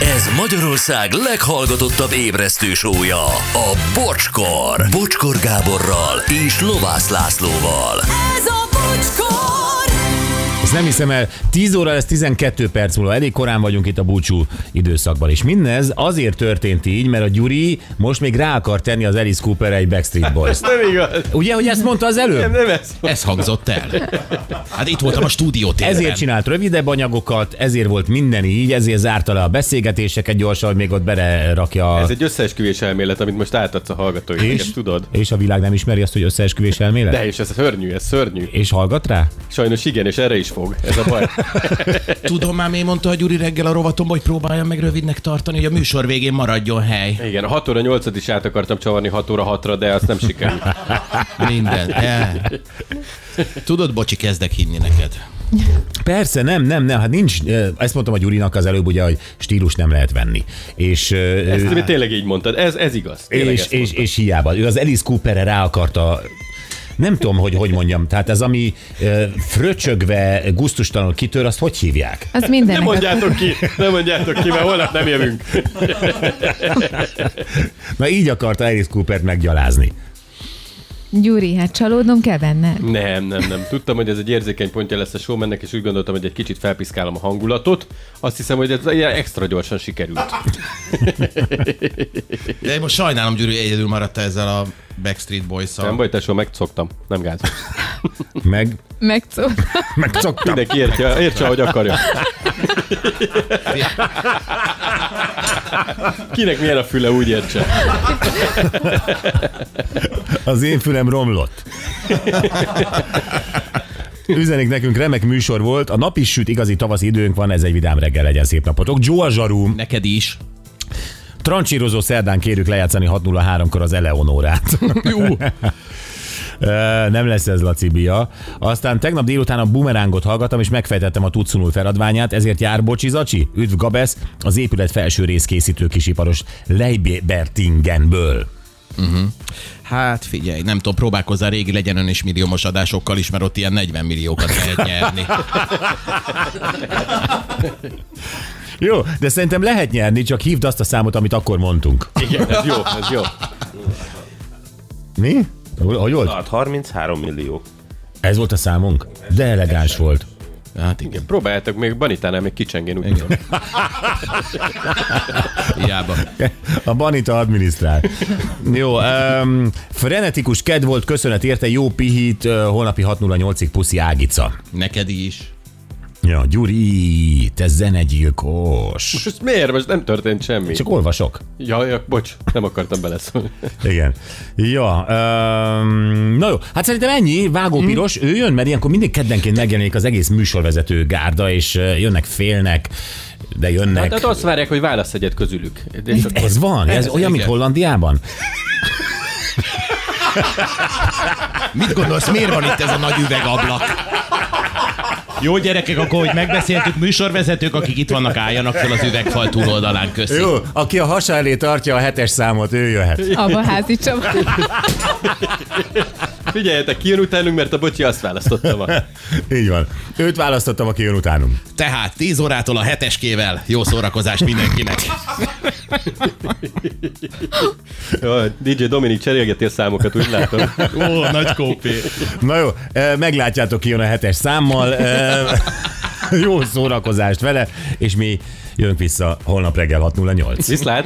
Ez Magyarország leghallgatottabb ébresztő sója, a Bocskor. Bocskor Gáborral és Lovász Lászlóval. Ez a bocskor! Ezt nem hiszem el, 10 óra lesz 12 perc múlva, elég korán vagyunk itt a búcsú időszakban is. Mindez azért történt így, mert a Gyuri most még rá akar tenni az Alice Cooper egy Backstreet Boys. Nem igaz. Ugye, hogy ezt mondta az előbb? Nem ez. Ez hangzott el. Hát itt voltam a stúdió térben. Ezért csinált rövidebb anyagokat, ezért volt minden így, ezért zárta le a beszélgetéseket gyorsan, hogy még ott belerakja a... Ez egy összeesküvés elmélet, amit most átadsz a hallgatóinknak, és, ezt tudod? és a világ nem ismeri azt, hogy összeesküvés elmélet? De és ez szörnyű, ez szörnyű. És hallgat rá? Sajnos igen, és erre is fog. Ez a baj. Tudom már, mi mondta a Gyuri reggel a rovatomba, hogy próbáljam meg rövidnek tartani, hogy a műsor végén maradjon hely. Igen, a 6 óra 8 is át akartam csavarni 6 óra 6-ra, de azt nem sikerült. Minden. E. Tudod, bocsi, kezdek hinni neked. Persze, nem, nem, nem, hát nincs, ö, ezt mondtam a Gyurinak az előbb, ugye, hogy stílus nem lehet venni. És, ö, Ezt mi tényleg így mondtad. Ez, ez igaz. Tényleg és, ezt és, és hiába. Ő az Alice Cooperre rá akarta nem tudom, hogy hogy mondjam. Tehát ez, ami ö, fröcsögve, guztustalanul kitör, azt hogy hívják? Az mindennek. Nem a- mondjátok ki, nem mondjátok ki, mert holnap nem jövünk. Na így akarta Alice Coopert meggyalázni. Gyuri, hát csalódnom kell benned. Nem, nem, nem. Tudtam, hogy ez egy érzékeny pontja lesz a showmannek, és úgy gondoltam, hogy egy kicsit felpiszkálom a hangulatot. Azt hiszem, hogy ez ilyen extra gyorsan sikerült. De én most sajnálom, Gyuri egyedül maradt ezzel a Backstreet boys Nem -szal. baj, tesó, megszoktam. Nem gáz. Meg, Megszól. meg csak Mindenki értse, értse, ahogy akarja. Kinek milyen a füle, úgy értse. az én fülem romlott. Üzenik nekünk, remek műsor volt. A nap is süt, igazi tavaszi időnk van, ez egy vidám reggel, legyen szép napotok. Joa Zsarum, Neked is. Trancsírozó szerdán kérjük lejátszani 6.03-kor az Eleonórát. Jó. Nem lesz ez Laci Bia. Aztán tegnap délután a bumerángot hallgattam, és megfejtettem a Tucunul feladványát, ezért jár Bocsi Zacsi, üdv Gabesz, az épület felső rész készítő kisiparos Leibertingenből. Hát figyelj, nem tudom, próbálkozzál régi legyen ön is milliómos adásokkal is, mert ott ilyen 40 milliókat lehet nyerni. Jó, de szerintem lehet nyerni, csak hívd azt a számot, amit akkor mondtunk. Igen, ez jó, ez jó. Mi? Hogy volt? Hát 33 millió. Ez volt a számunk? De elegáns volt. Hát igen, Próbáljátok még Banitánál még kicsengén, úgy tudom. hiába. A Banita adminisztrál. Jó, um, frenetikus kedv volt, köszönet érte, jó pihít, ö, holnapi 6.08-ig puszi Ágica. Neked is. Ja, Gyuri, te zenegyilkos. És miért? Most nem történt semmi. Csak olvasok. Ja, ja, bocs, nem akartam beleszólni. Igen. Ja, um, na jó, hát szerintem ennyi, Vágó Piros, ő jön, mert ilyenkor mindig keddenként megjelenik az egész műsorvezető gárda, és ö, jönnek, félnek, de jönnek. Tehát Hát azt várják, hogy válasz egyet közülük. És Itt ez van, ez, ez olyan, mint igen. Hollandiában. Mit gondolsz, miért van itt ez a nagy üvegablak? Jó gyerekek, akkor, hogy megbeszéltük, műsorvezetők, akik itt vannak, álljanak fel az üvegfal túloldalán, köszi. Jó, aki a hasa elé tartja a hetes számot, ő jöhet. Abba házi Csaba. Figyeljetek, kijön utánunk, mert a bocsi azt választotta ma. Így van. Őt választottam, aki jön utánunk. Tehát 10 órától a heteskével jó szórakozást mindenkinek. Jaj, DJ Dominik cserélgeti a számokat, úgy látom. Ó, nagy kópé. Na jó, eh, meglátjátok, ki jön a hetes számmal. Eh, Jó szórakozást vele, és mi jönk vissza holnap reggel 6.08. Viszlát!